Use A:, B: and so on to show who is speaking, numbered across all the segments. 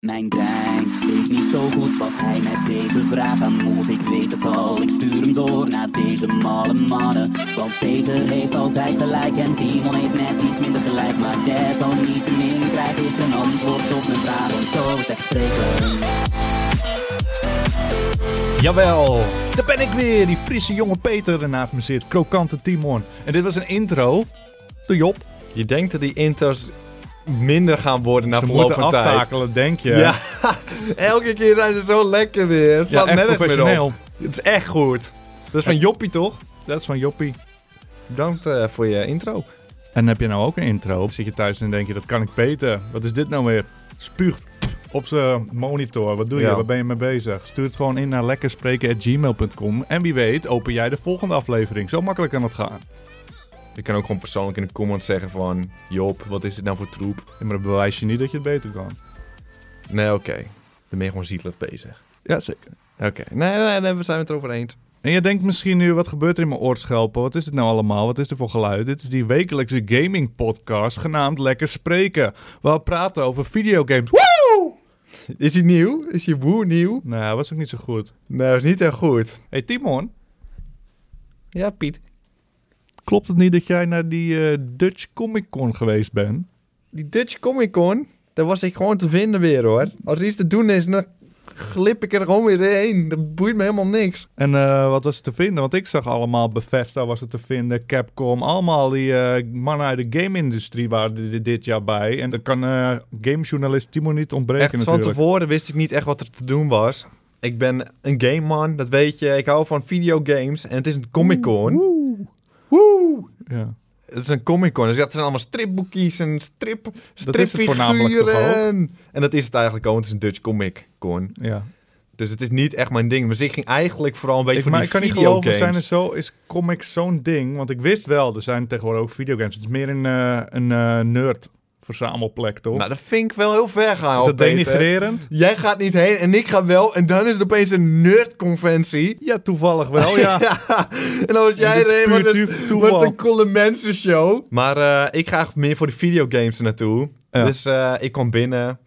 A: Mijn brein weet niet zo goed wat hij met deze vraag aan moet. Ik weet het al, ik stuur hem door naar deze malle mannen. Want Peter heeft altijd gelijk en Simon heeft net iets minder gelijk. Maar desalniettemin krijg ik een antwoord op mijn vraag. En zo is het spreken.
B: Jawel, daar ben ik weer, die frisse jonge Peter en naast me zit, krokante Timon. En dit was een intro door Job.
C: Je denkt dat die intros minder gaan worden na
B: Ze
C: verloop
B: moeten
C: van tijd.
B: aftakelen, denk je.
C: Ja, elke keer zijn ze zo lekker weer. Het
B: Ja,
C: slaat
B: echt
C: nergens meer op.
B: professioneel.
C: Het is echt goed. Dat is van Joppie, toch?
B: Dat is van Joppie.
C: Bedankt eh, voor je intro.
B: En heb je nou ook een intro? Zit je thuis en denk je, dat kan ik beter. Wat is dit nou weer? Spuugt op zijn monitor. Wat doe je?
C: Ja.
B: Waar ben je mee bezig? Stuur het gewoon in naar lekkerspreken.gmail.com. En wie weet open jij de volgende aflevering. Zo makkelijk kan het gaan.
C: Je kan ook gewoon persoonlijk in de comments zeggen van... Job, wat is dit nou voor troep?
B: Ja, maar dat bewijs je niet dat je het beter kan.
C: Nee, oké. Dan ben je gewoon zielig bezig.
B: Ja, zeker.
C: Oké. Nee, nee, nee, we zijn het erover eens.
B: En je denkt misschien nu, wat gebeurt er in mijn oorschelpen? Wat is dit nou allemaal? Wat is er voor geluid? Dit is die wekelijkse gaming podcast genaamd Lekker Spreken. Waar we praten over videogames. Woe!
C: Is hij nieuw? Is je boer nieuw?
B: Nou, was ook niet zo goed.
C: Nou, is niet echt goed.
B: hey, Timon.
C: Ja, Piet.
B: Klopt het niet dat jij naar die eh, Dutch Comic Con geweest bent?
C: Die Dutch Comic Con, daar was ik gewoon te vinden weer hoor. Als iets te doen is, dan glip ik er gewoon weer heen. Dat boeit me helemaal niks.
B: En eh, wat was er te vinden? Want ik zag allemaal Bethesda was er te vinden, Capcom, allemaal die eh, mannen uit de game-industrie waren er di- dit jaar bij. En dat kan eh, gamejournalist Timon niet ontbreken
C: Echt van
B: natuurlijk.
C: tevoren wist ik niet echt wat er te doen was. Ik ben een game man, dat weet je. Ik hou van videogames en het is een Comic Con.
B: Woe.
C: Woe!
B: Ja.
C: Het is een Comic Con, dus dat zijn allemaal stripboekjes en strip,
B: is het voornamelijk toch ook?
C: stripfiguren. En dat is het eigenlijk ook, want het is een Dutch Comic Con.
B: ja.
C: Dus het is niet echt mijn ding. Maar ik ging eigenlijk vooral een beetje
B: Ik,
C: voor
B: maar
C: die
B: ik kan niet
C: videogames.
B: geloven, zijn er zo, is comics zo'n ding? Want ik wist wel, er zijn tegenwoordig ook videogames. Het is meer een, eh, een eh, nerd-verzamelplek, toch?
C: Nou, dat vind ik wel heel ver gaan.
B: is dat
C: Peter.
B: denigrerend?
C: Jij gaat niet heen en ik ga wel. En dan is het opeens een nerdconventie.
B: Ja, toevallig wel, ja.
C: En dan was jij
B: Dit is
C: erheen, was
B: puur
C: het,
B: toeval.
C: was het een coole mensenshow. Maar eh, ik ga echt meer voor de videogames er naartoe.
B: Ja.
C: Dus eh, ik kwam binnen.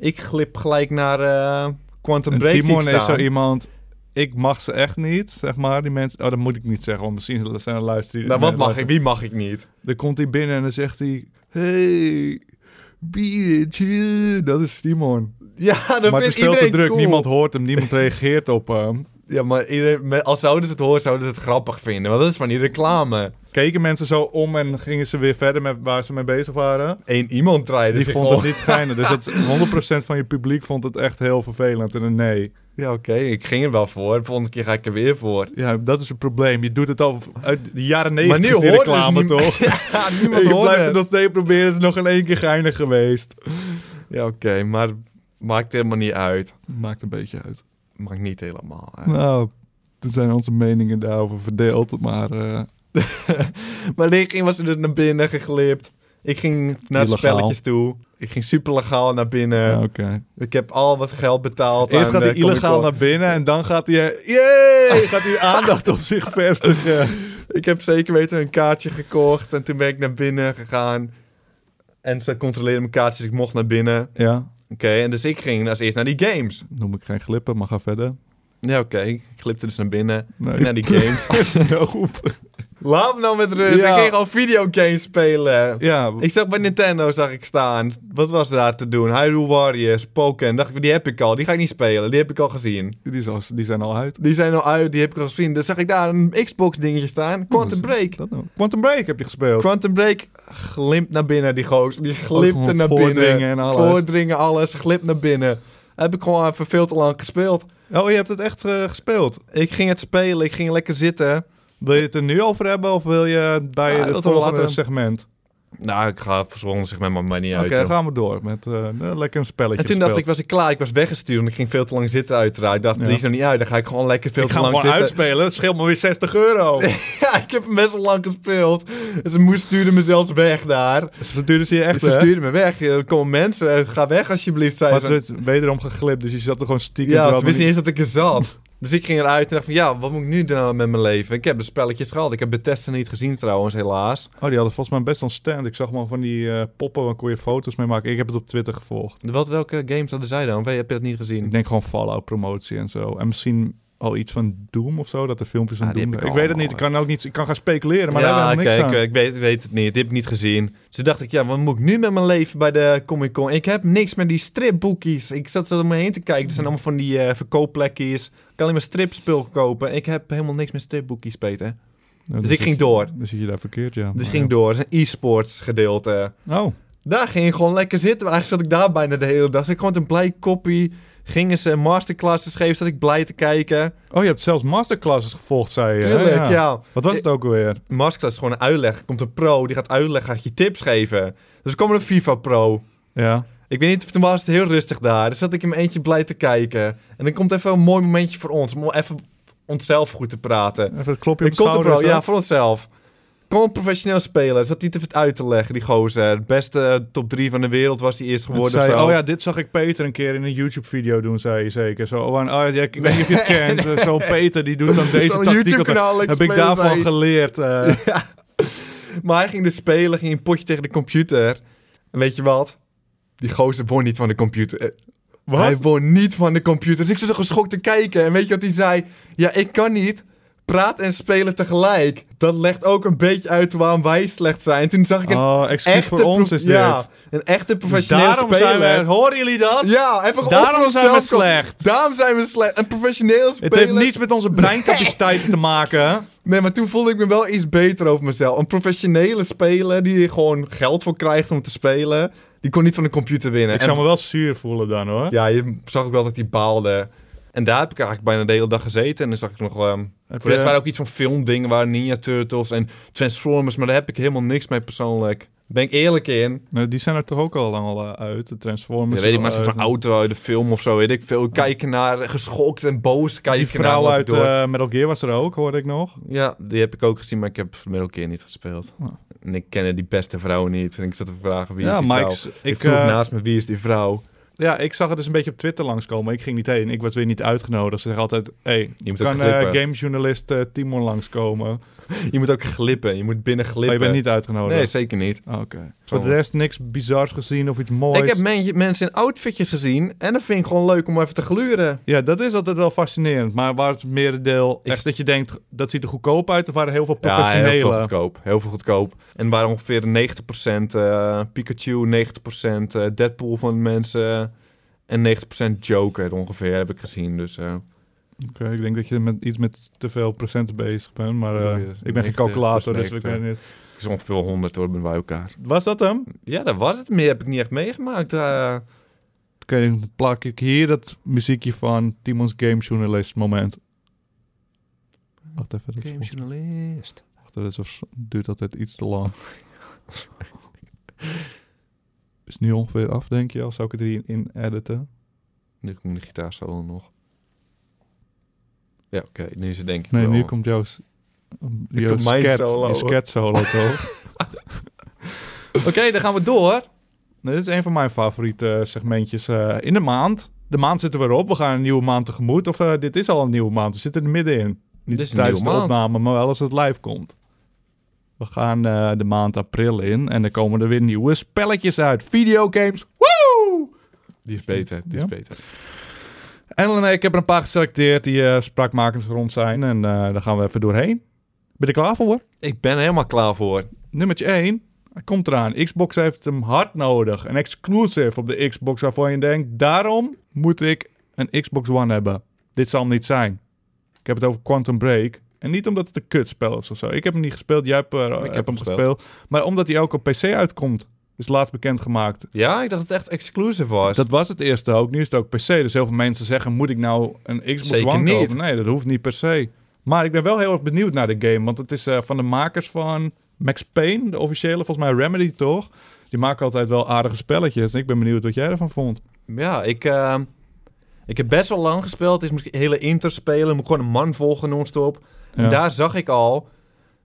C: Ik glip gelijk naar eh, Quantum
B: En
C: Break zie ik
B: Timon is zo
C: staan.
B: iemand. Ik mag ze echt niet, zeg maar. Die mensen. Oh, dat moet ik niet zeggen, want misschien zijn er luisteren.
C: Nou, wat mag ik? Wie mag ik niet?
B: Dan komt hij binnen en dan zegt hij: Hey, biertje. Dat is Timon.
C: Ja, dat
B: maar het
C: vindt
B: is veel te
C: iedereen
B: druk.
C: cool.
B: Niemand hoort hem, niemand reageert op hem.
C: Ja, maar iedereen, me- als zouden ze het horen, zouden ze het grappig vinden. Want dat is van die reclame.
B: Keken mensen zo om en gingen ze weer verder met waar ze mee bezig waren.
C: Eén iemand draaide
B: Die
C: zich
B: vond
C: om.
B: het niet geinig. Dus dat is 100% van je publiek vond het echt heel vervelend. En een nee.
C: Ja, oké. Ik ging er wel voor. De volgende keer ga ik er weer voor.
B: Ja, dat is het probleem. Je doet het al uit de jaren
C: Maar
B: 90
C: nu
B: is die
C: hoort dus
B: reclame,
C: niem-
B: toch?
C: Ja,
B: Ik
C: niemand
B: je
C: hoorde
B: blijft het
C: het.
B: nog steeds proberen. Het is nog in één keer geinig geweest.
C: Ja, oké, maar maakt helemaal niet uit.
B: Maakt een beetje uit.
C: Maakt niet helemaal uit.
B: Nou, er zijn onze meningen daarover verdeeld. Maar eh,
C: Maar ik ging, was er dus naar binnen geglipt. Ik ging naar
B: Illegaal.
C: spelletjes toe. Ik ging super legaal naar binnen.
B: ja, oké.
C: Ik heb al wat geld betaald.
B: Eerst
C: aan eh,
B: gaat
C: de
B: hij illegaal
C: Comic-Con.
B: naar binnen en dan gaat hij... eh, Yay! Gaat hij aandacht op zich vestigen.
C: Ik heb zeker weten een kaartje gekocht. En toen ben ik naar binnen gegaan. En ze controleerden mijn kaartjes. dus ik mocht naar binnen. Oké,
B: Ja,
C: en dus ik ging als eerst naar die games.
B: noem ik geen glippen, maar ga verder.
C: Ja, oké. Ik glipte dus naar binnen.
B: Nee.
C: Naar die games.
B: Nope.
C: Laat me nou met rust.
B: Ja.
C: Ik ging gewoon videogames spelen.
B: Ja,
C: Ik zag bij Nintendo zag ik staan. Wat was daar te doen? Hyrule Warriors, Pokémon. Dacht ik, die heb ik al. Die ga ik niet spelen. Die heb ik al gezien.
B: die, is al- die zijn al uit.
C: Die zijn al uit. Die heb ik al gezien. Dan zag ik daar een Xbox dingetje staan. Quantum Break.
B: Dat nou. Quantum Break heb je gespeeld.
C: Quantum Break glimt naar binnen, die goos. Die glipte
B: gewoon
C: naar
B: voordringen
C: binnen.
B: en alles.
C: Voordringen, alles. Glipt naar binnen. Heb ik gewoon even veel te lang gespeeld.
B: Oh, je hebt het echt eh, gespeeld.
C: Ik ging het spelen. Ik ging lekker zitten.
B: Wil je het er nu over hebben of wil je bij
C: Ah,
B: het
C: dat we
B: volgende
C: later-
B: segment?
C: Nou, ik ga verzorgen zich met mijn money
B: Oké,
C: uit.
B: dan
C: joh.
B: gaan we door met eh, lekker een spelletje
C: En toen dacht ik,
B: gespeeld.
C: was ik klaar. Ik was weggestuurd en ik ging veel te lang zitten uiteraard. Ik dacht,
B: Ja.
C: die is nog niet uit. Dan ga ik gewoon lekker veel
B: ik
C: te
B: ga hem
C: lang
B: gewoon
C: zitten.
B: uitspelen. Het scheelt me weer 60 euro.
C: ja, ik heb hem best wel lang gespeeld. En ze moest, stuurde me zelfs weg daar.
B: Dus dat duurde ze je echt
C: ze
B: hè?
C: stuurde me weg. Eh, Kom mensen, eh, ga weg alsjeblieft, zei
B: Maar
C: ze.
B: het werd wederom geglipt, dus je zat er gewoon stiekem.
C: Ja,
B: terwijl
C: ze wist niet
B: het
C: eens dat ik er zat. Dus ik ging eruit en dacht van, ja, wat moet ik nu doen nou met mijn leven? Ik heb de spelletjes gehad. Ik heb Bethesda niet gezien trouwens, helaas.
B: Oh, die hadden volgens mij best wel een stand. Ik zag maar van die eh, poppen, waar kon je foto's mee maken. Ik heb het op Twitter gevolgd.
C: Wat, welke games hadden zij dan? Of Heb je het niet gezien?
B: Ik denk gewoon Fallout promotie en zo. En misschien al iets van Doom of zo, dat er filmpjes van
C: Ah, die
B: Doom...
C: heb
B: Ik,
C: ik
B: weet het
C: allemaal,
B: niet, ik kan ook niet... Ik kan gaan speculeren, maar daar
C: ja,
B: hebben we
C: kijk,
B: niks aan.
C: eh, ik weet, weet het niet. Die heb ik niet gezien. Dus toen dacht ik, ja, wat moet ik nu met mijn leven bij de Comic Con? Ik heb niks met die stripboekjes. Ik zat zo om me heen te kijken. Er zijn allemaal van die eh verkoopplekjes. Ik kan alleen maar stripspul kopen. Ik heb helemaal niks met stripboekjes, Peter.
B: Nou,
C: Dus
B: dan
C: ik ging door.
B: zit- Dan zit je daar verkeerd, ja.
C: Dus
B: Maar
C: ik ging
B: ja.
C: door. Dat is een e-sports gedeelte.
B: Oh,
C: Daar ging ik gewoon lekker zitten. Maar Eigenlijk zat ik daar bijna de hele dag. Zat ik gewoon een blij koppie. Gingen ze masterclasses geven. Zat ik blij te kijken.
B: oh, je hebt zelfs masterclasses gevolgd, zei je. hè?
C: Tuurlijk, ja.
B: Wat was het ook alweer?
C: Masterclass is gewoon een uitleg. Er komt een pro. Die gaat uitleggen. Gaat je tips geven. Dus er kwam een FIFA pro.
B: Ja.
C: Ik weet niet, of- toen was het heel rustig daar. Dus zat ik in mijn eentje blij te kijken. En dan komt even een mooi momentje voor ons. Om even onszelf goed te praten.
B: Even een klopje op
C: Ik
B: de
C: komt er
B: schouder.
C: bro,
B: en zo.
C: ja, voor onszelf. Kom een professioneel speler. Zat hij te het uit te leggen, die gozer. De beste eh, top 3 van de wereld was hij eerst
B: En toen
C: geworden.
B: zei,
C: of
B: je,
C: zo.
B: oh ja, dit zag ik Peter een keer in een YouTube-video doen, zei je zeker. Zo, oh, en- oh, ja, ik weet niet of je het kent. eh, Zo, Peter, die doet dan deze
C: Zo'n
B: tactiek. op-
C: YouTube-kanaal
B: Heb ik
C: explain,
B: daarvan
C: zei hij.
B: geleerd? eh.
C: Maar hij ging dus spelen, ging een potje tegen de computer. En weet je wat? Die gozer won niet van de computer. Eh,
B: Wat?
C: Hij won niet van de computer. Dus ik zat zo geschokt te kijken. En weet je wat hij zei? Ja, ik kan niet. Praat en spelen tegelijk. Dat legt ook een beetje uit waarom wij slecht zijn. En toen zag ik een
B: oh, excuus
C: echte...
B: voor ons
C: pro-
B: is dit.
C: ja, een echte
B: Dus
C: professioneel
B: daarom
C: speler.
B: zijn we... Horen jullie dat?
C: Ja, even geofferd
B: Daarom zijn we
C: zelfkomst.
B: slecht.
C: Daarom zijn we slecht. Een professioneel
B: Het
C: speler.
B: heeft niets met onze breincapaciteiten te maken.
C: Nee, maar toen voelde ik me wel iets beter over mezelf. Een professionele speler die er gewoon geld voor krijgt om te spelen, die kon niet van de computer winnen.
B: Ik
C: En-
B: zou me wel zuur voelen dan, hoor.
C: Ja, je zag ook wel dat hij baalde. En daar heb ik eigenlijk bijna de hele dag gezeten. En dan zag ik nog... ehm,
B: Heb
C: voor de rest
B: je-
C: waren ook iets van filmdingen, waren Ninja Turtles en Transformers. Maar daar heb ik helemaal niks mee persoonlijk. Ben ik eerlijk in.
B: Nou, die zijn er toch ook al lang al eh, uit, de Transformers.
C: Ja, weet ik, maar
B: al
C: zo'n
B: uit.
C: auto uit de film of zo, weet ik veel. Kijken naar, eh, geschokt en boos kijken
B: Die vrouw
C: naar
B: uit
C: wat ik door-
B: eh, Metal Gear was er ook, hoorde ik nog.
C: Ja, die heb ik ook gezien, maar ik heb met elkaar niet gespeeld.
B: Oh.
C: En ik kende die beste vrouw niet. En ik zat te vragen wie
B: ja,
C: is die
B: maar ik,
C: vrouw.
B: s-
C: Ik
B: ik,
C: vroeg
B: eh,
C: naast me, wie is die vrouw?
B: ja, ik zag het dus een beetje op Twitter langskomen. Ik ging niet heen. Ik was weer niet uitgenodigd. Ze zeggen altijd, hey,
C: Je moet ook
B: kan eh
C: glippen.
B: gamejournalist eh, Timon langskomen?
C: Je moet ook glippen. Je moet binnen
B: Maar
C: glippen.
B: je bent niet uitgenodigd. Ah,
C: Nee, zeker niet.
B: Oké. Voor de rest niks bizars gezien of iets moois.
C: Ik heb men- mensen in outfitjes gezien. En dat vind ik gewoon leuk om even te gluren.
B: Ja, dat is altijd wel fascinerend. Maar waar het merendeel
C: Ik-
B: echt dat je denkt, dat ziet er goedkoop uit. Of waren heel veel
C: Ja,
B: professionele.
C: heel veel goedkoop. Heel veel goedkoop. En waar ongeveer 90% eh, Pikachu, 90% eh, Deadpool van de mensen. En 90% Joker ongeveer heb ik gezien. Dus eh,
B: Oké, ik denk dat je met iets met te veel procenten bezig bent. Maar eh,
C: Bedoel je,
B: ik ben geen
C: 90,
B: calculator,
C: dat is
B: dus ik
C: 90.
B: weet niet.
C: het is ongeveer 100 hoor, bij elkaar.
B: Was dat hem?
C: Ja, dat was het. Meer heb ik niet echt meegemaakt. eh.
B: Oké, dan plak ik hier dat muziekje van Timon's Gamejournalist moment. Wacht even, dat, is volgens-
C: Gamejournalist.
B: wacht, dat is of- duurt altijd iets te lang. is nu ongeveer af, denk je? Of zou ik het hierin in editen?
C: Nu komt de gitaar solo nog. Ja, oké. Nu is het denk ik
B: Nee,
C: wel.
B: nu komt jouw, s- jouw
C: komt mijn
B: scat,
C: solo.
B: je scat solo toch?
C: Oké, dan gaan we door.
B: nee, dit is een van mijn favoriete segmentjes eh, in de maand. De maand zitten we erop. We gaan een nieuwe maand tegemoet. Of eh, dit is al een nieuwe maand. We zitten er middenin. Niet
C: Dit is een
B: tijdens de
C: nieuwe maand.
B: opname, maar wel als het live komt. We gaan eh, de maand april in. En dan komen er weer nieuwe spelletjes uit. Videogames. Woe!
C: Die is beter, die
B: Ja?
C: is beter.
B: En eh, ik heb er een paar geselecteerd die eh spraakmakend voor ons zijn. En eh, daar gaan we even doorheen. Ben je er klaar voor?
C: Ik ben er helemaal klaar voor.
B: Nummertje 1. Hij komt eraan. Xbox heeft hem hard nodig. Een exclusive op de Xbox waarvan je denkt... daarom moet ik een Xbox One hebben. Dit zal hem niet zijn. Ik heb het over Quantum Break. En niet omdat het een kutspel is of zo. Ik heb hem niet gespeeld. Jij hebt, eh, hebt
C: hem
B: hem
C: gespeeld.
B: gespeeld. Maar omdat hij ook op PC uitkomt. Is laatst bekendgemaakt.
C: Ja, ik dacht dat het echt exclusive was.
B: Dat was het eerste ook. Nu is het ook per se. Dus heel veel mensen zeggen, moet ik nou een Xbox
C: Zeker
B: One
C: niet.
B: kopen? Nee, dat hoeft niet per se. Maar ik ben wel heel erg benieuwd naar de game. Want het is eh, van de makers van Max Payne, de officiële, volgens mij Remedy toch? Die maken altijd wel aardige spelletjes. En ik ben benieuwd wat jij ervan vond.
C: Ja, ik, ehm, ik heb best wel lang gespeeld. Dus moest ik hele inter spelen. Moet ik gewoon een man volgen non-stop. En
B: Ja.
C: daar zag ik al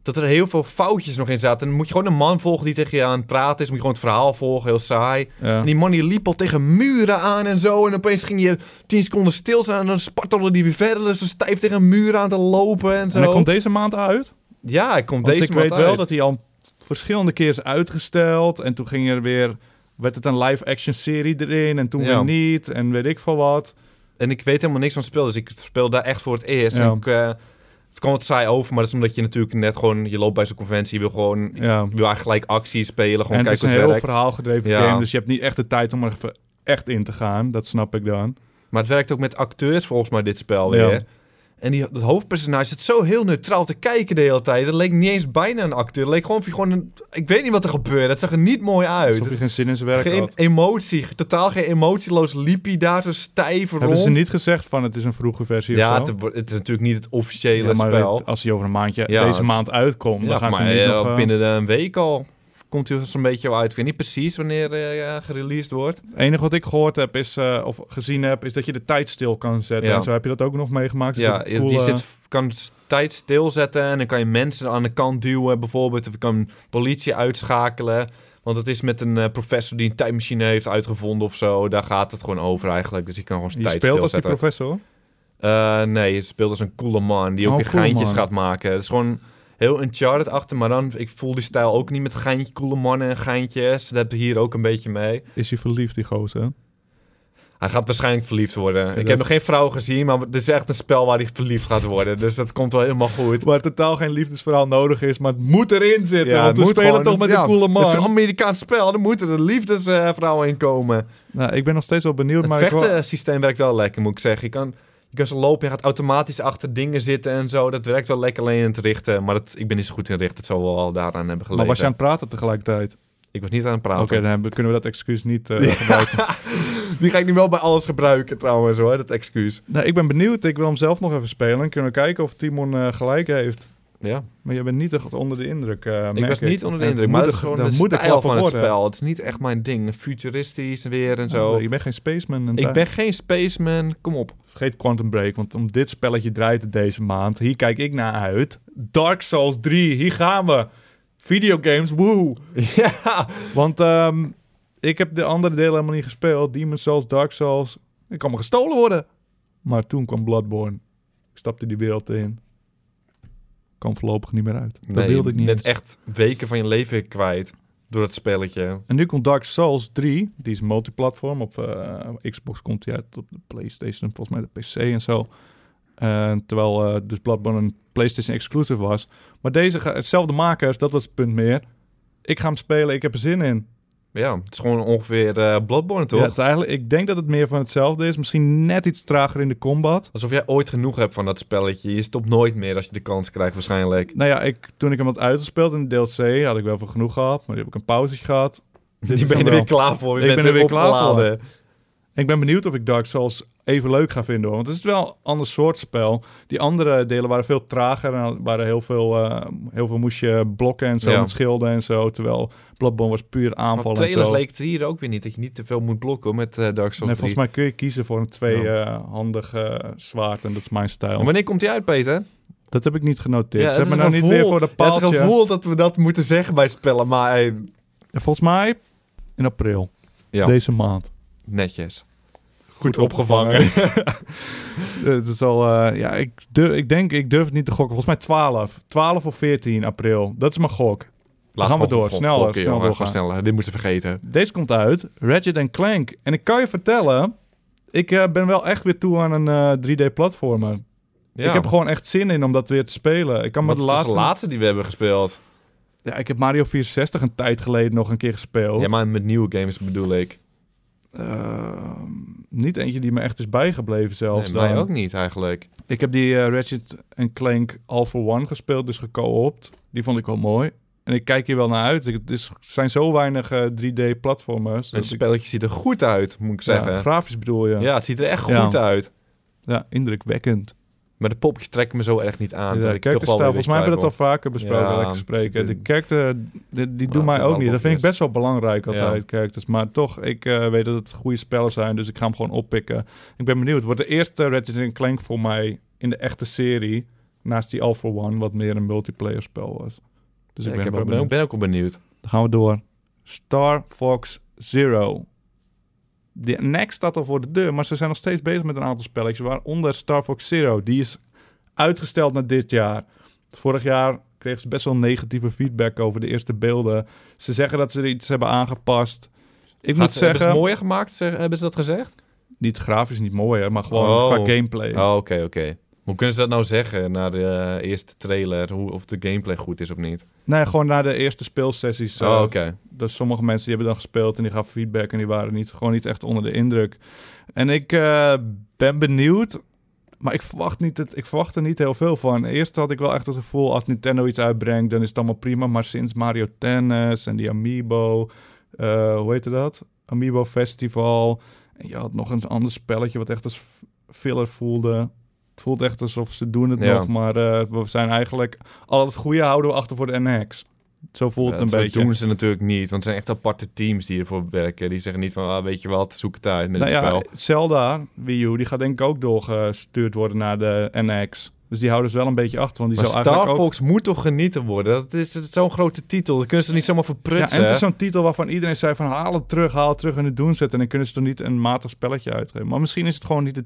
C: dat er heel veel foutjes nog in zaten. En dan moet je gewoon een man volgen die tegen je aan het praten is. Moet je gewoon het verhaal volgen, heel saai.
B: Ja.
C: En die man die liep al tegen muren aan en zo. En opeens ging je tien seconden stilstaan en dan spartelde die weer verder. Dus zo stijf tegen een muur aan te lopen en zo.
B: En hij komt deze maand uit?
C: Ja, hij komt
B: Want
C: deze
B: ik
C: maand
B: weet wel
C: uit.
B: dat hij al verschillende keer is uitgesteld. En toen ging er weer... Werd het een live-action serie erin en toen
C: Ja.
B: weer niet en weet ik veel wat.
C: En ik weet helemaal niks van het spel, dus ik speel daar echt voor het eerst.
B: Ja.
C: En ik, eh, het kwam wat saai over, maar dat is omdat je natuurlijk net gewoon... Je loopt bij zo'n conventie, je wil gewoon...
B: Ja.
C: Je wil eigenlijk gelijk actie spelen,
B: En
C: gewoon
B: het is
C: kijken
B: een
C: hoe het
B: heel
C: werkt.
B: verhaalgedreven
C: Ja.
B: game, dus je hebt niet echt de tijd om er even echt in te gaan. Dat snap ik dan.
C: Maar het werkt ook met acteurs volgens mij, dit spel
B: Ja.
C: weer. En die, dat hoofdpersonage zit zo heel neutraal te kijken de hele tijd. Het leek niet eens bijna een acteur. Het leek gewoon, gewoon een, ik weet niet wat er gebeurde. Het zag er niet mooi uit.
B: Alsof hij geen zin in zijn werk
C: Geen
B: had.
C: emotie, totaal geen emotieloos liep hij daar zo stijf
B: Hebben
C: rond.
B: ze niet gezegd van het is een vroege versie
C: ja,
B: of
C: het,
B: zo?
C: wordt- het is natuurlijk niet het officiële
B: maar
C: spel.
B: het- als hij over een maandje
C: Ja,
B: deze
C: het-
B: maand uitkomt,
C: ja,
B: dan gaan
C: maar
B: ze niet nog... eh,
C: binnen de een week al komt hij zo'n beetje wel uit. Ik weet niet precies wanneer eh, gereleased wordt.
B: Het enige wat ik gehoord heb is, eh, of gezien heb, is dat je de tijd stil kan zetten.
C: Ja.
B: En zo heb je dat ook nog meegemaakt. Dus
C: ja,
B: dat is cool,
C: die
B: eh,
C: zit, kan s- tijd stilzetten en dan kan je mensen aan de kant duwen bijvoorbeeld. Of je kan politie uitschakelen. Want het is met een eh, professor die een tijdmachine heeft uitgevonden of zo. Daar gaat het gewoon over eigenlijk. Dus je kan gewoon
B: die
C: tijd
B: speelt als die
C: stilzetten.
B: professor.
C: Eh, nee, het speelt als een coole man die ook
B: Oh,
C: weer
B: coole
C: geintjes
B: man.
C: gaat maken. Het is gewoon heel Uncharted achter, maar dan, ik voel die stijl ook niet met geintje, coole mannen en geintjes. Dat heb je hier ook een beetje mee.
B: Is hij verliefd, die gozer?
C: Hij gaat waarschijnlijk verliefd worden. ik
B: dat-
C: heb nog geen vrouw gezien, maar het is echt een spel waar hij verliefd gaat worden. dus dat komt wel helemaal goed.
B: Waar totaal geen liefdesverhaal nodig is, maar het moet erin zitten.
C: het
B: want we
C: moet
B: spelen
C: gewoon-
B: toch met
C: ja,
B: een coole man.
C: Het is een Amerikaans spel, dan moeten er liefdesvrouwen in komen.
B: Nou, ik ben nog steeds wel benieuwd,
C: Het
B: maar ik wil-
C: vechtensysteem werkt wel lekker, moet ik zeggen. Je kan, je kan zo lopen, je gaat automatisch achter dingen zitten en zo. Dat werkt wel lekker alleen in het richten. Maar dat, ik ben niet zo goed in richten, het zal wel al daaraan hebben gelegen.
B: Maar was je aan het praten tegelijkertijd?
C: Ik was niet aan het
B: Oké,
C: praten.
B: dan hebben- kunnen we dat excuus niet eh, gebruiken.
C: Die ga ik nu wel bij alles gebruiken trouwens hoor, dat excuus.
B: Nou, ik ben benieuwd. Ik wil hem zelf nog even spelen. Kunnen we kijken of Timon eh, gelijk heeft.
C: Ja.
B: Maar je bent niet echt onder de indruk. eh,
C: Ik
B: merk
C: was niet onder de
B: En
C: indruk,
B: moet
C: maar
B: een-
C: dat is gewoon de
B: moet een
C: stijl
B: klapper
C: van het
B: worden.
C: spel. Het is niet echt mijn ding. Futuristisch weer en
B: Oh,
C: zo.
B: je bent geen spaceman. en
C: Ik
B: daar-
C: ben geen spaceman, kom op.
B: Vergeet Quantum Break, want om dit spelletje draait het deze maand. Hier kijk ik naar uit. Dark Souls 3, hier gaan we. Videogames, woe.
C: Ja,
B: Want ehm, ik heb de andere delen helemaal niet gespeeld. Demon Souls, Dark Souls. Ik kan me gestolen worden. Maar toen kwam Bloodborne. Ik stapte die wereld in. Kan voorlopig niet meer uit. dat
C: Nee,
B: wilde ik niet
C: Je
B: eens.
C: bent echt weken van je leven kwijt door dat spelletje.
B: En nu komt Dark Souls 3. Die is multiplatform. Op eh, Xbox komt die uit, op de PlayStation, volgens mij de PC en zo. En terwijl eh, dus Bloodborne een PlayStation exclusive was. Maar deze, ga- hetzelfde makers, dat was het punt meer. Ik ga hem spelen, ik heb er zin in.
C: Ja, het is gewoon ongeveer eh, Bloodborne, toch?
B: Ja, het is eigenlijk, ik denk dat het meer van hetzelfde is. Misschien net iets trager in de combat.
C: Alsof jij ooit genoeg hebt van dat spelletje. Je stopt nooit meer als je de kans krijgt, waarschijnlijk.
B: Nou ja, ik, toen ik hem had uitgespeeld in de DLC, had ik wel van genoeg gehad. Maar die heb ik een pauzetje gehad. Dit
C: Dus
B: is
C: Je
B: hem
C: bent er
B: wel.
C: weer klaar voor. Je
B: Ik
C: bent
B: ben er weer klaar
C: opgeladen.
B: Ik ben benieuwd of ik Dark Souls even leuk ga vinden. hoor. Want het is wel een ander soort spel. Die andere delen waren veel trager. En waren heel veel, eh, heel veel moest je blokken en zo.
C: Ja.
B: Met schilden en zo. Terwijl Bloodborne was puur
C: Maar
B: aanvallen en
C: trailers
B: zo.
C: leek het hier ook weer niet. Dat je niet te veel moet blokken hoor, met eh, Dark
B: Nee,
C: Souls 3.
B: volgens mij kun je kiezen voor een twee-handig zwaard. En dat is mijn stijl.
C: En Wanneer komt die uit, Peter?
B: Dat heb ik niet genoteerd. Ze
C: het is
B: hebben
C: een
B: nou niet
C: gevoel.
B: weer voor de
C: Ja, het is
B: paaltje.
C: een gevoel dat we dat moeten zeggen bij spellen, maar eh,
B: En volgens mij in april.
C: Ja.
B: Deze maand.
C: netjes. Goed opgevangen.
B: Eh, Het is al, eh, ja, ik, durf, ik denk, ik durf het niet te gokken. Volgens mij 12. 12 of 14 april. Dat is mijn gok.
C: Laat
B: gaan we
C: gewoon
B: door.
C: gokken,
B: Sneller,
C: jongen.
B: snel
C: Gewoon
B: doorgaan.
C: sneller. Dit moesten we vergeten.
B: Deze komt uit, Ratchet Clank. En ik kan je vertellen, ik eh, ben wel echt weer toe aan een eh, 3D-platformer.
C: Ja.
B: Ik heb gewoon echt zin in om dat weer te spelen. Ik kan
C: maar
B: met de
C: het is
B: laatste...
C: de laatste die we hebben gespeeld.
B: Ja, ik heb Mario 64 een tijd geleden nog een keer gespeeld.
C: Ja, maar met nieuwe games bedoel ik.
B: Ehm, niet eentje die me echt is bijgebleven zelfs.
C: Nee, mij
B: dan.
C: ook niet eigenlijk.
B: Ik heb die eh, Ratchet Clank All for One gespeeld, dus geco-opt. Die vond ik wel mooi. En ik kijk hier wel naar uit. Ik- Het is, zijn zo weinig eh, 3D-platformers.
C: Het spelletje ziet er goed uit, moet ik zeggen.
B: ja,
C: Ja,
B: grafisch bedoel je. Ja,
C: het ziet er echt
B: Ja.
C: goed uit.
B: indrukwekkend.
C: Maar de popjes trekken me zo erg niet aan. dat
B: Ja, de
C: ik toch wel
B: karakterstijl,
C: weer
B: volgens mij hebben we dat al
C: twijfel.
B: vaker besproken,
C: Ja,
B: ja,
C: het
B: gesprekken.
C: zit
B: De
C: in.
B: karakter, die, die doen
C: het
B: mij
C: zijn
B: ook
C: wel
B: niet. Dat vind ik
C: blokjes.
B: best wel belangrijk altijd,
C: Ja.
B: characters. Maar toch, ik eh, weet dat het goede spellen zijn, dus ik ga hem gewoon oppikken. Ik ben benieuwd. Het wordt de eerste Ratchet Clank voor mij in de echte serie. Naast die All for One, wat meer een multiplayer spel was. Dus
C: Ja,
B: ik
C: heb-
B: ben wel
C: ben, ook,
B: benieuwd.
C: ben ook wel benieuwd.
B: Dan gaan we door. Star Fox Zero. De Next staat al voor de deur, maar ze zijn nog steeds bezig met een aantal spelletjes. Waaronder Star Fox Zero. Die is uitgesteld naar dit jaar. Vorig jaar kregen ze best wel negatieve feedback over de eerste beelden. Ze zeggen dat ze er iets hebben aangepast. Ik moet
C: Gaat- Hebben ze het
B: zeggen,
C: mooier gemaakt, zeg- hebben ze dat gezegd?
B: niet grafisch, niet mooi, hè, maar gewoon
C: Oh.
B: qua gameplay.
C: Oh, oké, oké. Hoe kunnen ze dat nou zeggen na de eh, eerste trailer? Hoe, of de gameplay goed is of niet?
B: Nee, gewoon na de eerste speelsessies. eh,
C: Oh, oké.
B: Dus sommige mensen die hebben dan gespeeld en die gaven feedback en die waren niet, gewoon niet echt onder de indruk. En ik eh, ben benieuwd, maar ik verwacht, niet het, ik verwacht er niet heel veel van. Eerst had ik wel echt het gevoel, als Nintendo iets uitbrengt, dan is het allemaal prima. Maar sinds Mario Tennis en die Amiibo, eh, hoe heette dat? Amiibo Festival. En je had nog een ander spelletje wat echt als f- filler voelde. Het voelt echt alsof ze doen het
C: Ja.
B: nog, maar eh, we zijn eigenlijk... Al het goede houden we achter voor de NX. Zo voelt
C: Ja,
B: het een
C: zo
B: beetje.
C: doen ze natuurlijk niet, want het zijn echt aparte teams die ervoor werken. Die zeggen niet van, ah, weet je wat, zoek het uit met
B: Nou
C: het
B: ja,
C: spel.
B: Zelda, Wii U, die gaat denk ik ook doorgestuurd worden naar de NX. Dus die houden ze wel een beetje achter, want die
C: Maar
B: zou eigenlijk
C: Star
B: ook...
C: Fox moet toch genieten worden? Dat is zo'n grote titel, dat kunnen ze niet zomaar
B: Ja,
C: verprutsen.
B: en het is
C: hè?
B: zo'n titel waarvan iedereen zei van haal het terug, haal het terug en het doen zetten. En dan kunnen ze er niet een matig spelletje uitgeven. Maar misschien is het gewoon niet het,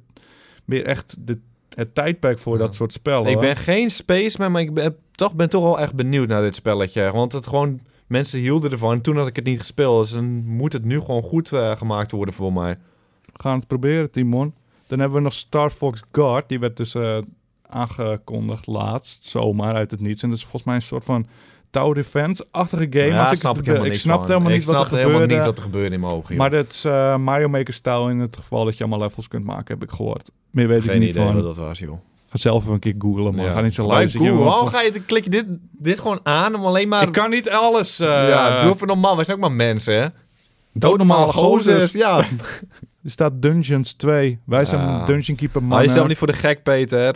B: meer echt de, het tijdperk voor
C: Ja.
B: dat soort spellen.
C: Ik
B: hoor.
C: ben geen spaceman, maar ik ben toch, ben toch wel echt benieuwd naar dit spelletje. Want het gewoon, mensen hielden ervan. Toen had ik het niet gespeeld, dus dan moet het nu gewoon goed eh, gemaakt worden voor mij.
B: We gaan het proberen, Timon. Dan hebben we nog Star Fox Guard. Die werd dus eh, aangekondigd laatst, zomaar uit het niets. En dat is volgens mij een soort van tower defense-achtige game.
C: Ja,
B: Als ik,
C: snap
B: het,
C: ik helemaal
B: ik
C: niks
B: snapte
C: van.
B: helemaal niet
C: ik
B: wat er
C: snapte helemaal
B: gebeurde.
C: niet wat er gebeurde in mijn ogen. joh.
B: Maar dat is eh, Mario Maker-stijl in het geval dat je allemaal levels kunt maken, heb ik gehoord. Meer weet ik
C: geen
B: niet
C: idee
B: van.
C: wat dat was, joh.
B: Ga zelf even een keer googlen, man.
C: Ja.
B: Ga niet zo
C: Bij
B: lui zitten,
C: Google,
B: jongen.
C: waarom ga je, dan klik je dit, dit gewoon aan om alleen maar...
B: Ik kan niet alles. eh
C: ja, doe even normaal. Wij zijn ook maar mensen, hè? Doodnormale gozers, ja.
B: Er staat Dungeons 2. Wij zijn
C: Ja.
B: Dungeon Keeper man.
C: Maar je stelt niet voor de gek, Peter.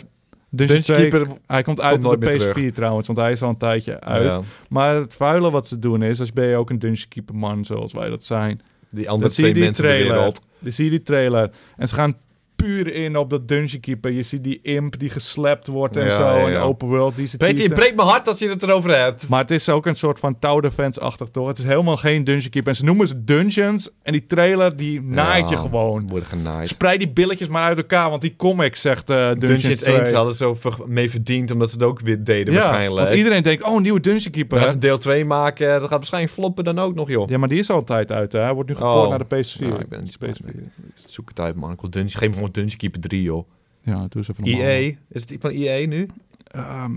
B: Dus Dungeon,
C: Dungeon
B: 2,
C: Keeper...
B: Hij komt uit
C: komt
B: op de
C: nooit meer
B: PS4 trouwens, want hij is al een tijdje uit.
C: Ja,
B: Maar het vuile wat ze doen is, als ben je ook een Dungeon Keeper man, zoals wij dat zijn.
C: die andere
B: Dat zie je
C: twee
B: die
C: mensen in de
B: trailer.
C: wereld.
B: Dan zie je die trailer. En ze gaan puur in op dat Dungeon Keeper. Je ziet die imp die geslapt wordt en
C: Ja,
B: zo.
C: ja,
B: En de
C: ja.
B: open world die ze
C: Peter, je
B: teasen.
C: breekt mijn hart als je het erover hebt.
B: Maar het is ook een soort van tower defense-achtig, toch? Het is helemaal geen Dungeon Keeper. En ze noemen ze Dungeons. En die trailer, die naait je gewoon.
C: Worden genaaid.
B: Spreid die billetjes maar uit elkaar, want die comic zegt eh Dungeons,
C: Dungeons
B: 2.
C: 1 hadden ze ook mee verdiend, omdat ze het ook weer deden
B: ja,
C: waarschijnlijk.
B: want iedereen denkt, oh, een nieuwe Dungeon Keeper.
C: Als
B: hè?
C: ze deel 2 maken, dat gaat waarschijnlijk floppen dan ook nog, joh.
B: Ja, maar die is al een tijd uit, hè? Hij wordt nu gepoord
C: Oh.
B: naar de PS4.
C: Nou, ik ben niet blij
B: PS4.
C: Zoek het uit, man. Ik wil Dungeon, geef me gewoon Dungeon Keeper 3, joh.
B: Ja, doe eens even normaal.
C: EA, is het die van EA nu?
B: Ehm,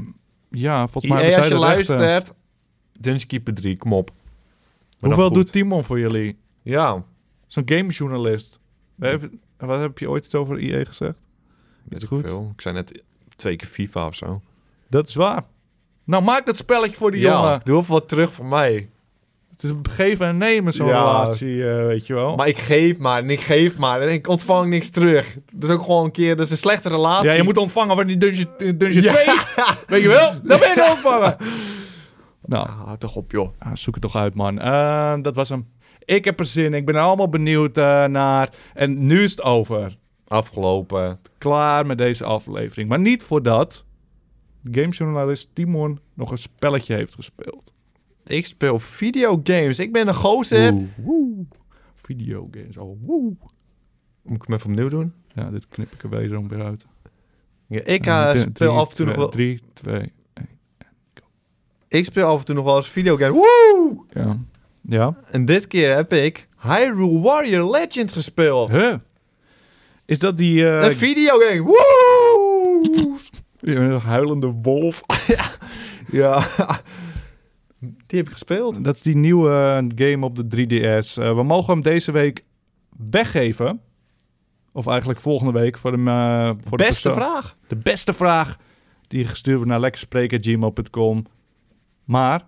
B: ja, volgens mij
C: EA,
B: hebben zij
C: E
B: eh,
C: als je
B: de rechten.
C: luistert, Dungeon Keeper 3, kom op. Maar dan
B: Hoeveel
C: goed.
B: doet Timon voor jullie?
C: Ja,
B: Zo'n gamejournalist. We hebben- Wat heb je ooit iets over EA gezegd?
C: weet ik
B: goed.
C: veel. Ik zei net twee keer FIFA of zo.
B: Dat is waar. Nou, maak dat spelletje voor die
C: ja,
B: jongen.
C: doe even wat terug voor mij.
B: Het is een geven en nemen, zo'n
C: Ja.
B: relatie, eh, weet je wel.
C: Maar ik geef maar en ik geef maar en ik ontvang niks terug. Dat is ook gewoon een keer, dat is een slechte relatie.
B: ja, je moet ontvangen van die Dungeon, eh, dungeon
C: Ja.
B: 2. Weet je wel? Dan ben je er ontvangen. nou,
C: Ah, hou toch op, joh.
B: ah, zoek het toch uit, man. Eh, dat was hem. Ik heb er zin in. Ik ben er allemaal benieuwd eh, naar. En nu is het over.
C: Afgelopen.
B: Klaar met deze aflevering. Maar niet voordat gamejournalist Timon nog een spelletje heeft gespeeld.
C: Ik speel videogames. Ik ben een gozer.
B: Oeh, woe. Videogames. Oh, woe.
C: Moet ik hem even opnieuw doen?
B: Ja, dit knip ik er wederom weer uit.
C: Ja, ik,
B: Eh,
C: eh,
B: drie,
C: speel af en toe nog
B: twee-
C: wel,
B: Drie, twee, één.
C: ik speel af en toe nog wel eens videogames. Woe!
B: Ja. Ja.
C: En dit keer heb ik Hyrule Warrior Legend gespeeld.
B: Huh? Is dat die... eh,
C: Een videogame. Woe!
B: Een eh, huilende wolf.
C: ja. Die heb ik gespeeld.
B: Dat is die nieuwe eh, game op de 3DS. Eh, we mogen hem deze week weggeven. Of eigenlijk volgende week voor, hem, eh, voor
C: Beste
B: de, persoon-
C: vraag.
B: de beste vraag. Die gestuurd wordt naar lekkerspreken.gmail.com. Maar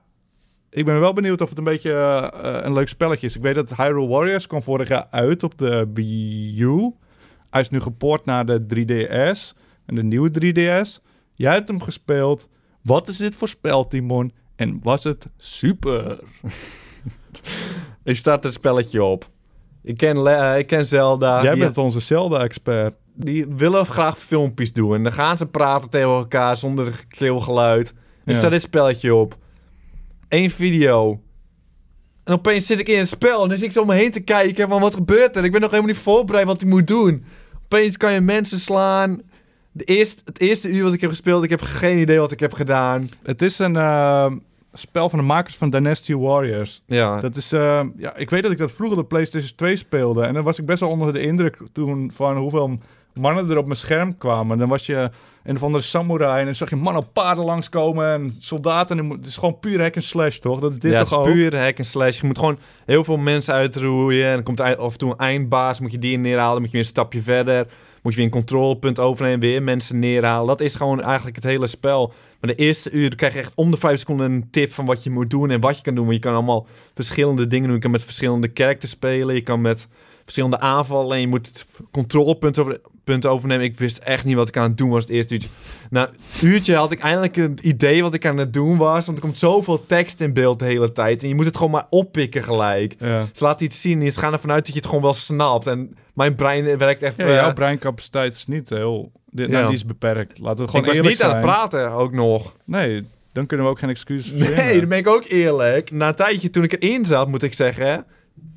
B: ik ben wel benieuwd of het een beetje eh, eh, een leuk spelletje is. Ik weet dat Hyrule Warriors kwam vorig jaar uit op de Wii U. Hij is nu gepoord naar de 3DS en de nieuwe 3DS. Jij hebt hem gespeeld. Wat is dit voor spel, Timon? En was het super?
C: Ik start het spelletje op. Ik ken, Le- eh, ik ken Zelda.
B: Jij
C: die,
B: bent onze Zelda-expert.
C: die willen graag filmpjes doen. En dan gaan ze praten tegen elkaar zonder keelgeluid. Ik
B: Ja.
C: staat dit spelletje op. Eén video. En opeens zit ik in het spel en dan zit ik zo om me heen te kijken van wat gebeurt er? Ik ben nog helemaal niet voorbereid wat ik moet doen. Opeens kan je mensen slaan. De eerste, het eerste uur wat ik heb gespeeld, ik heb geen idee wat ik heb gedaan.
B: Het is een eh, spel van de makers van Dynasty Warriors.
C: Ja,
B: Dat is, eh, ja, ik weet dat ik dat vroeger op PlayStation 2 speelde. En dan was ik best wel onder de indruk toen van hoeveel mannen er op mijn scherm kwamen. Dan was je een of andere samurai en dan zag je mannen op paarden langskomen en soldaten. En het is gewoon puur hack en slash, toch? Dat is dit
C: ja,
B: toch
C: het
B: ook?
C: is puur hack en slash. Je moet gewoon heel veel mensen uitroeien. En dan komt er ei- af en toe een eindbaas. Moet je die neerhalen. Dan moet je weer een stapje verder. Moet je weer een controlepunt overnemen. Weer mensen neerhalen. Dat is gewoon eigenlijk het hele spel. Maar de eerste uur krijg je echt om de vijf seconden een tip van wat je moet doen. En wat je kan doen. Want je kan allemaal verschillende dingen doen. Je kan met verschillende characters spelen. Je kan met verschillende aanvallen. En je moet het controlepunt over, punt overnemen. Ik wist echt niet wat ik aan het doen was het eerste uurtje. Na een uurtje had ik eindelijk een idee wat ik aan het doen was. Want er komt zoveel tekst in beeld de hele tijd. En je moet het gewoon maar oppikken gelijk.
B: Ja.
C: Ze laten iets zien en ze gaan ervan uit dat je het gewoon wel snapt. En mijn brein werkt echt...
B: Ja,
C: eh,
B: jouw breincapaciteit is niet heel... Dit, nou,
C: Ja.
B: die is beperkt. Laten we
C: ik
B: gewoon
C: was
B: eerlijk
C: niet
B: zijn.
C: aan het praten ook nog.
B: Nee, dan kunnen we ook geen excuses
C: Nee, dan
B: verzinnen.
C: ben ik ook eerlijk. Na een tijdje toen ik erin zat, moet ik zeggen,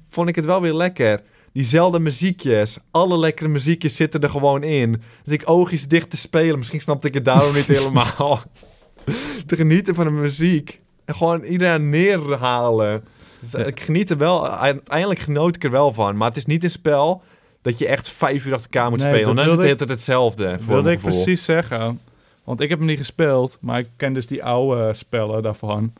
C: vond ik het wel weer lekker. Diezelfde muziekjes, alle lekkere muziekjes zitten er gewoon in. Dus ik oogjes dicht te spelen, misschien snapte ik het daarom niet helemaal. te genieten van de muziek en gewoon iedereen neerhalen. Dus, eh, ik geniet er wel, uiteindelijk genoot ik er wel van. Maar het is niet een spel dat je echt vijf uur achter elkaar moet
B: Nee,
C: spelen.
B: dat
C: Want dan is het
B: wilde
C: altijd hetzelfde.
B: Dat
C: eh, Voor
B: wilde
C: mijn
B: ik
C: gevoel.
B: precies zeggen. Want ik heb hem niet gespeeld, maar ik ken dus die oude spellen daarvan.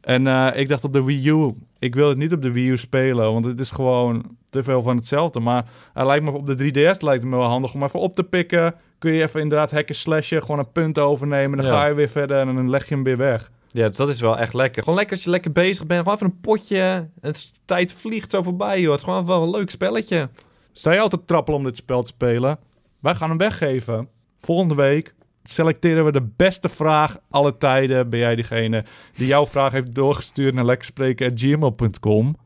B: En eh, ik dacht op de Wii U, ik wil het niet op de Wii U spelen, want het is gewoon te veel van hetzelfde. Maar hij lijkt me op de 3DS lijkt het me wel handig om even op te pikken. Kun je even inderdaad hacken slashen, gewoon een punt overnemen, dan
C: Ja.
B: ga je weer verder en dan leg je hem weer weg.
C: Ja, dat is wel echt lekker. Gewoon lekker als je lekker bezig bent. Gewoon even een potje. Het tijd vliegt zo voorbij, joh. Het is gewoon wel een leuk spelletje.
B: Zij altijd trappelen om dit spel te spelen. Wij gaan hem weggeven. Volgende week selecteren we de beste vraag alle tijden. Ben jij degene die jouw vraag heeft doorgestuurd naar lekkerspreken.gmail.com.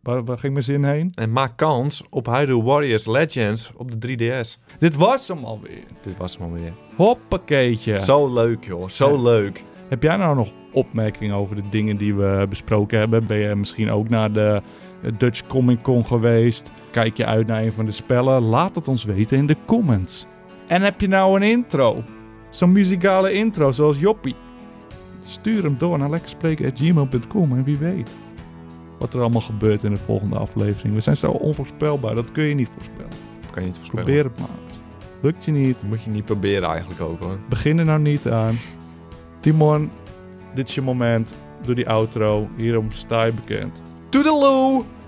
B: Waar, waar ging mijn zin heen?
C: En maak kans op Hyrule Warriors Legends op de 3DS.
B: Dit was hem alweer.
C: Dit was hem alweer.
B: Hoppakeetje.
C: Zo leuk, joh. Zo
B: Ja.
C: leuk.
B: Heb jij nou nog opmerkingen over de dingen die we besproken hebben? Ben je misschien ook naar de Dutch Comic Con geweest? Kijk je uit naar een van de spellen? Laat het ons weten in de comments. En heb je nou een intro? Zo'n muzikale intro zoals Joppie? Stuur hem door naar lekkerspreken.gmail.com en wie weet wat er allemaal gebeurt in de volgende aflevering. We zijn zo onvoorspelbaar, dat kun je niet voorspellen.
C: Kan je niet voorspellen.
B: Probeer het maar eens. Lukt je niet?
C: Moet je niet proberen eigenlijk ook, hoor.
B: Begin er nou niet aan. Timon, dit is je moment. Doe die outro. Hierom sta je bekend.
C: Toedeloe!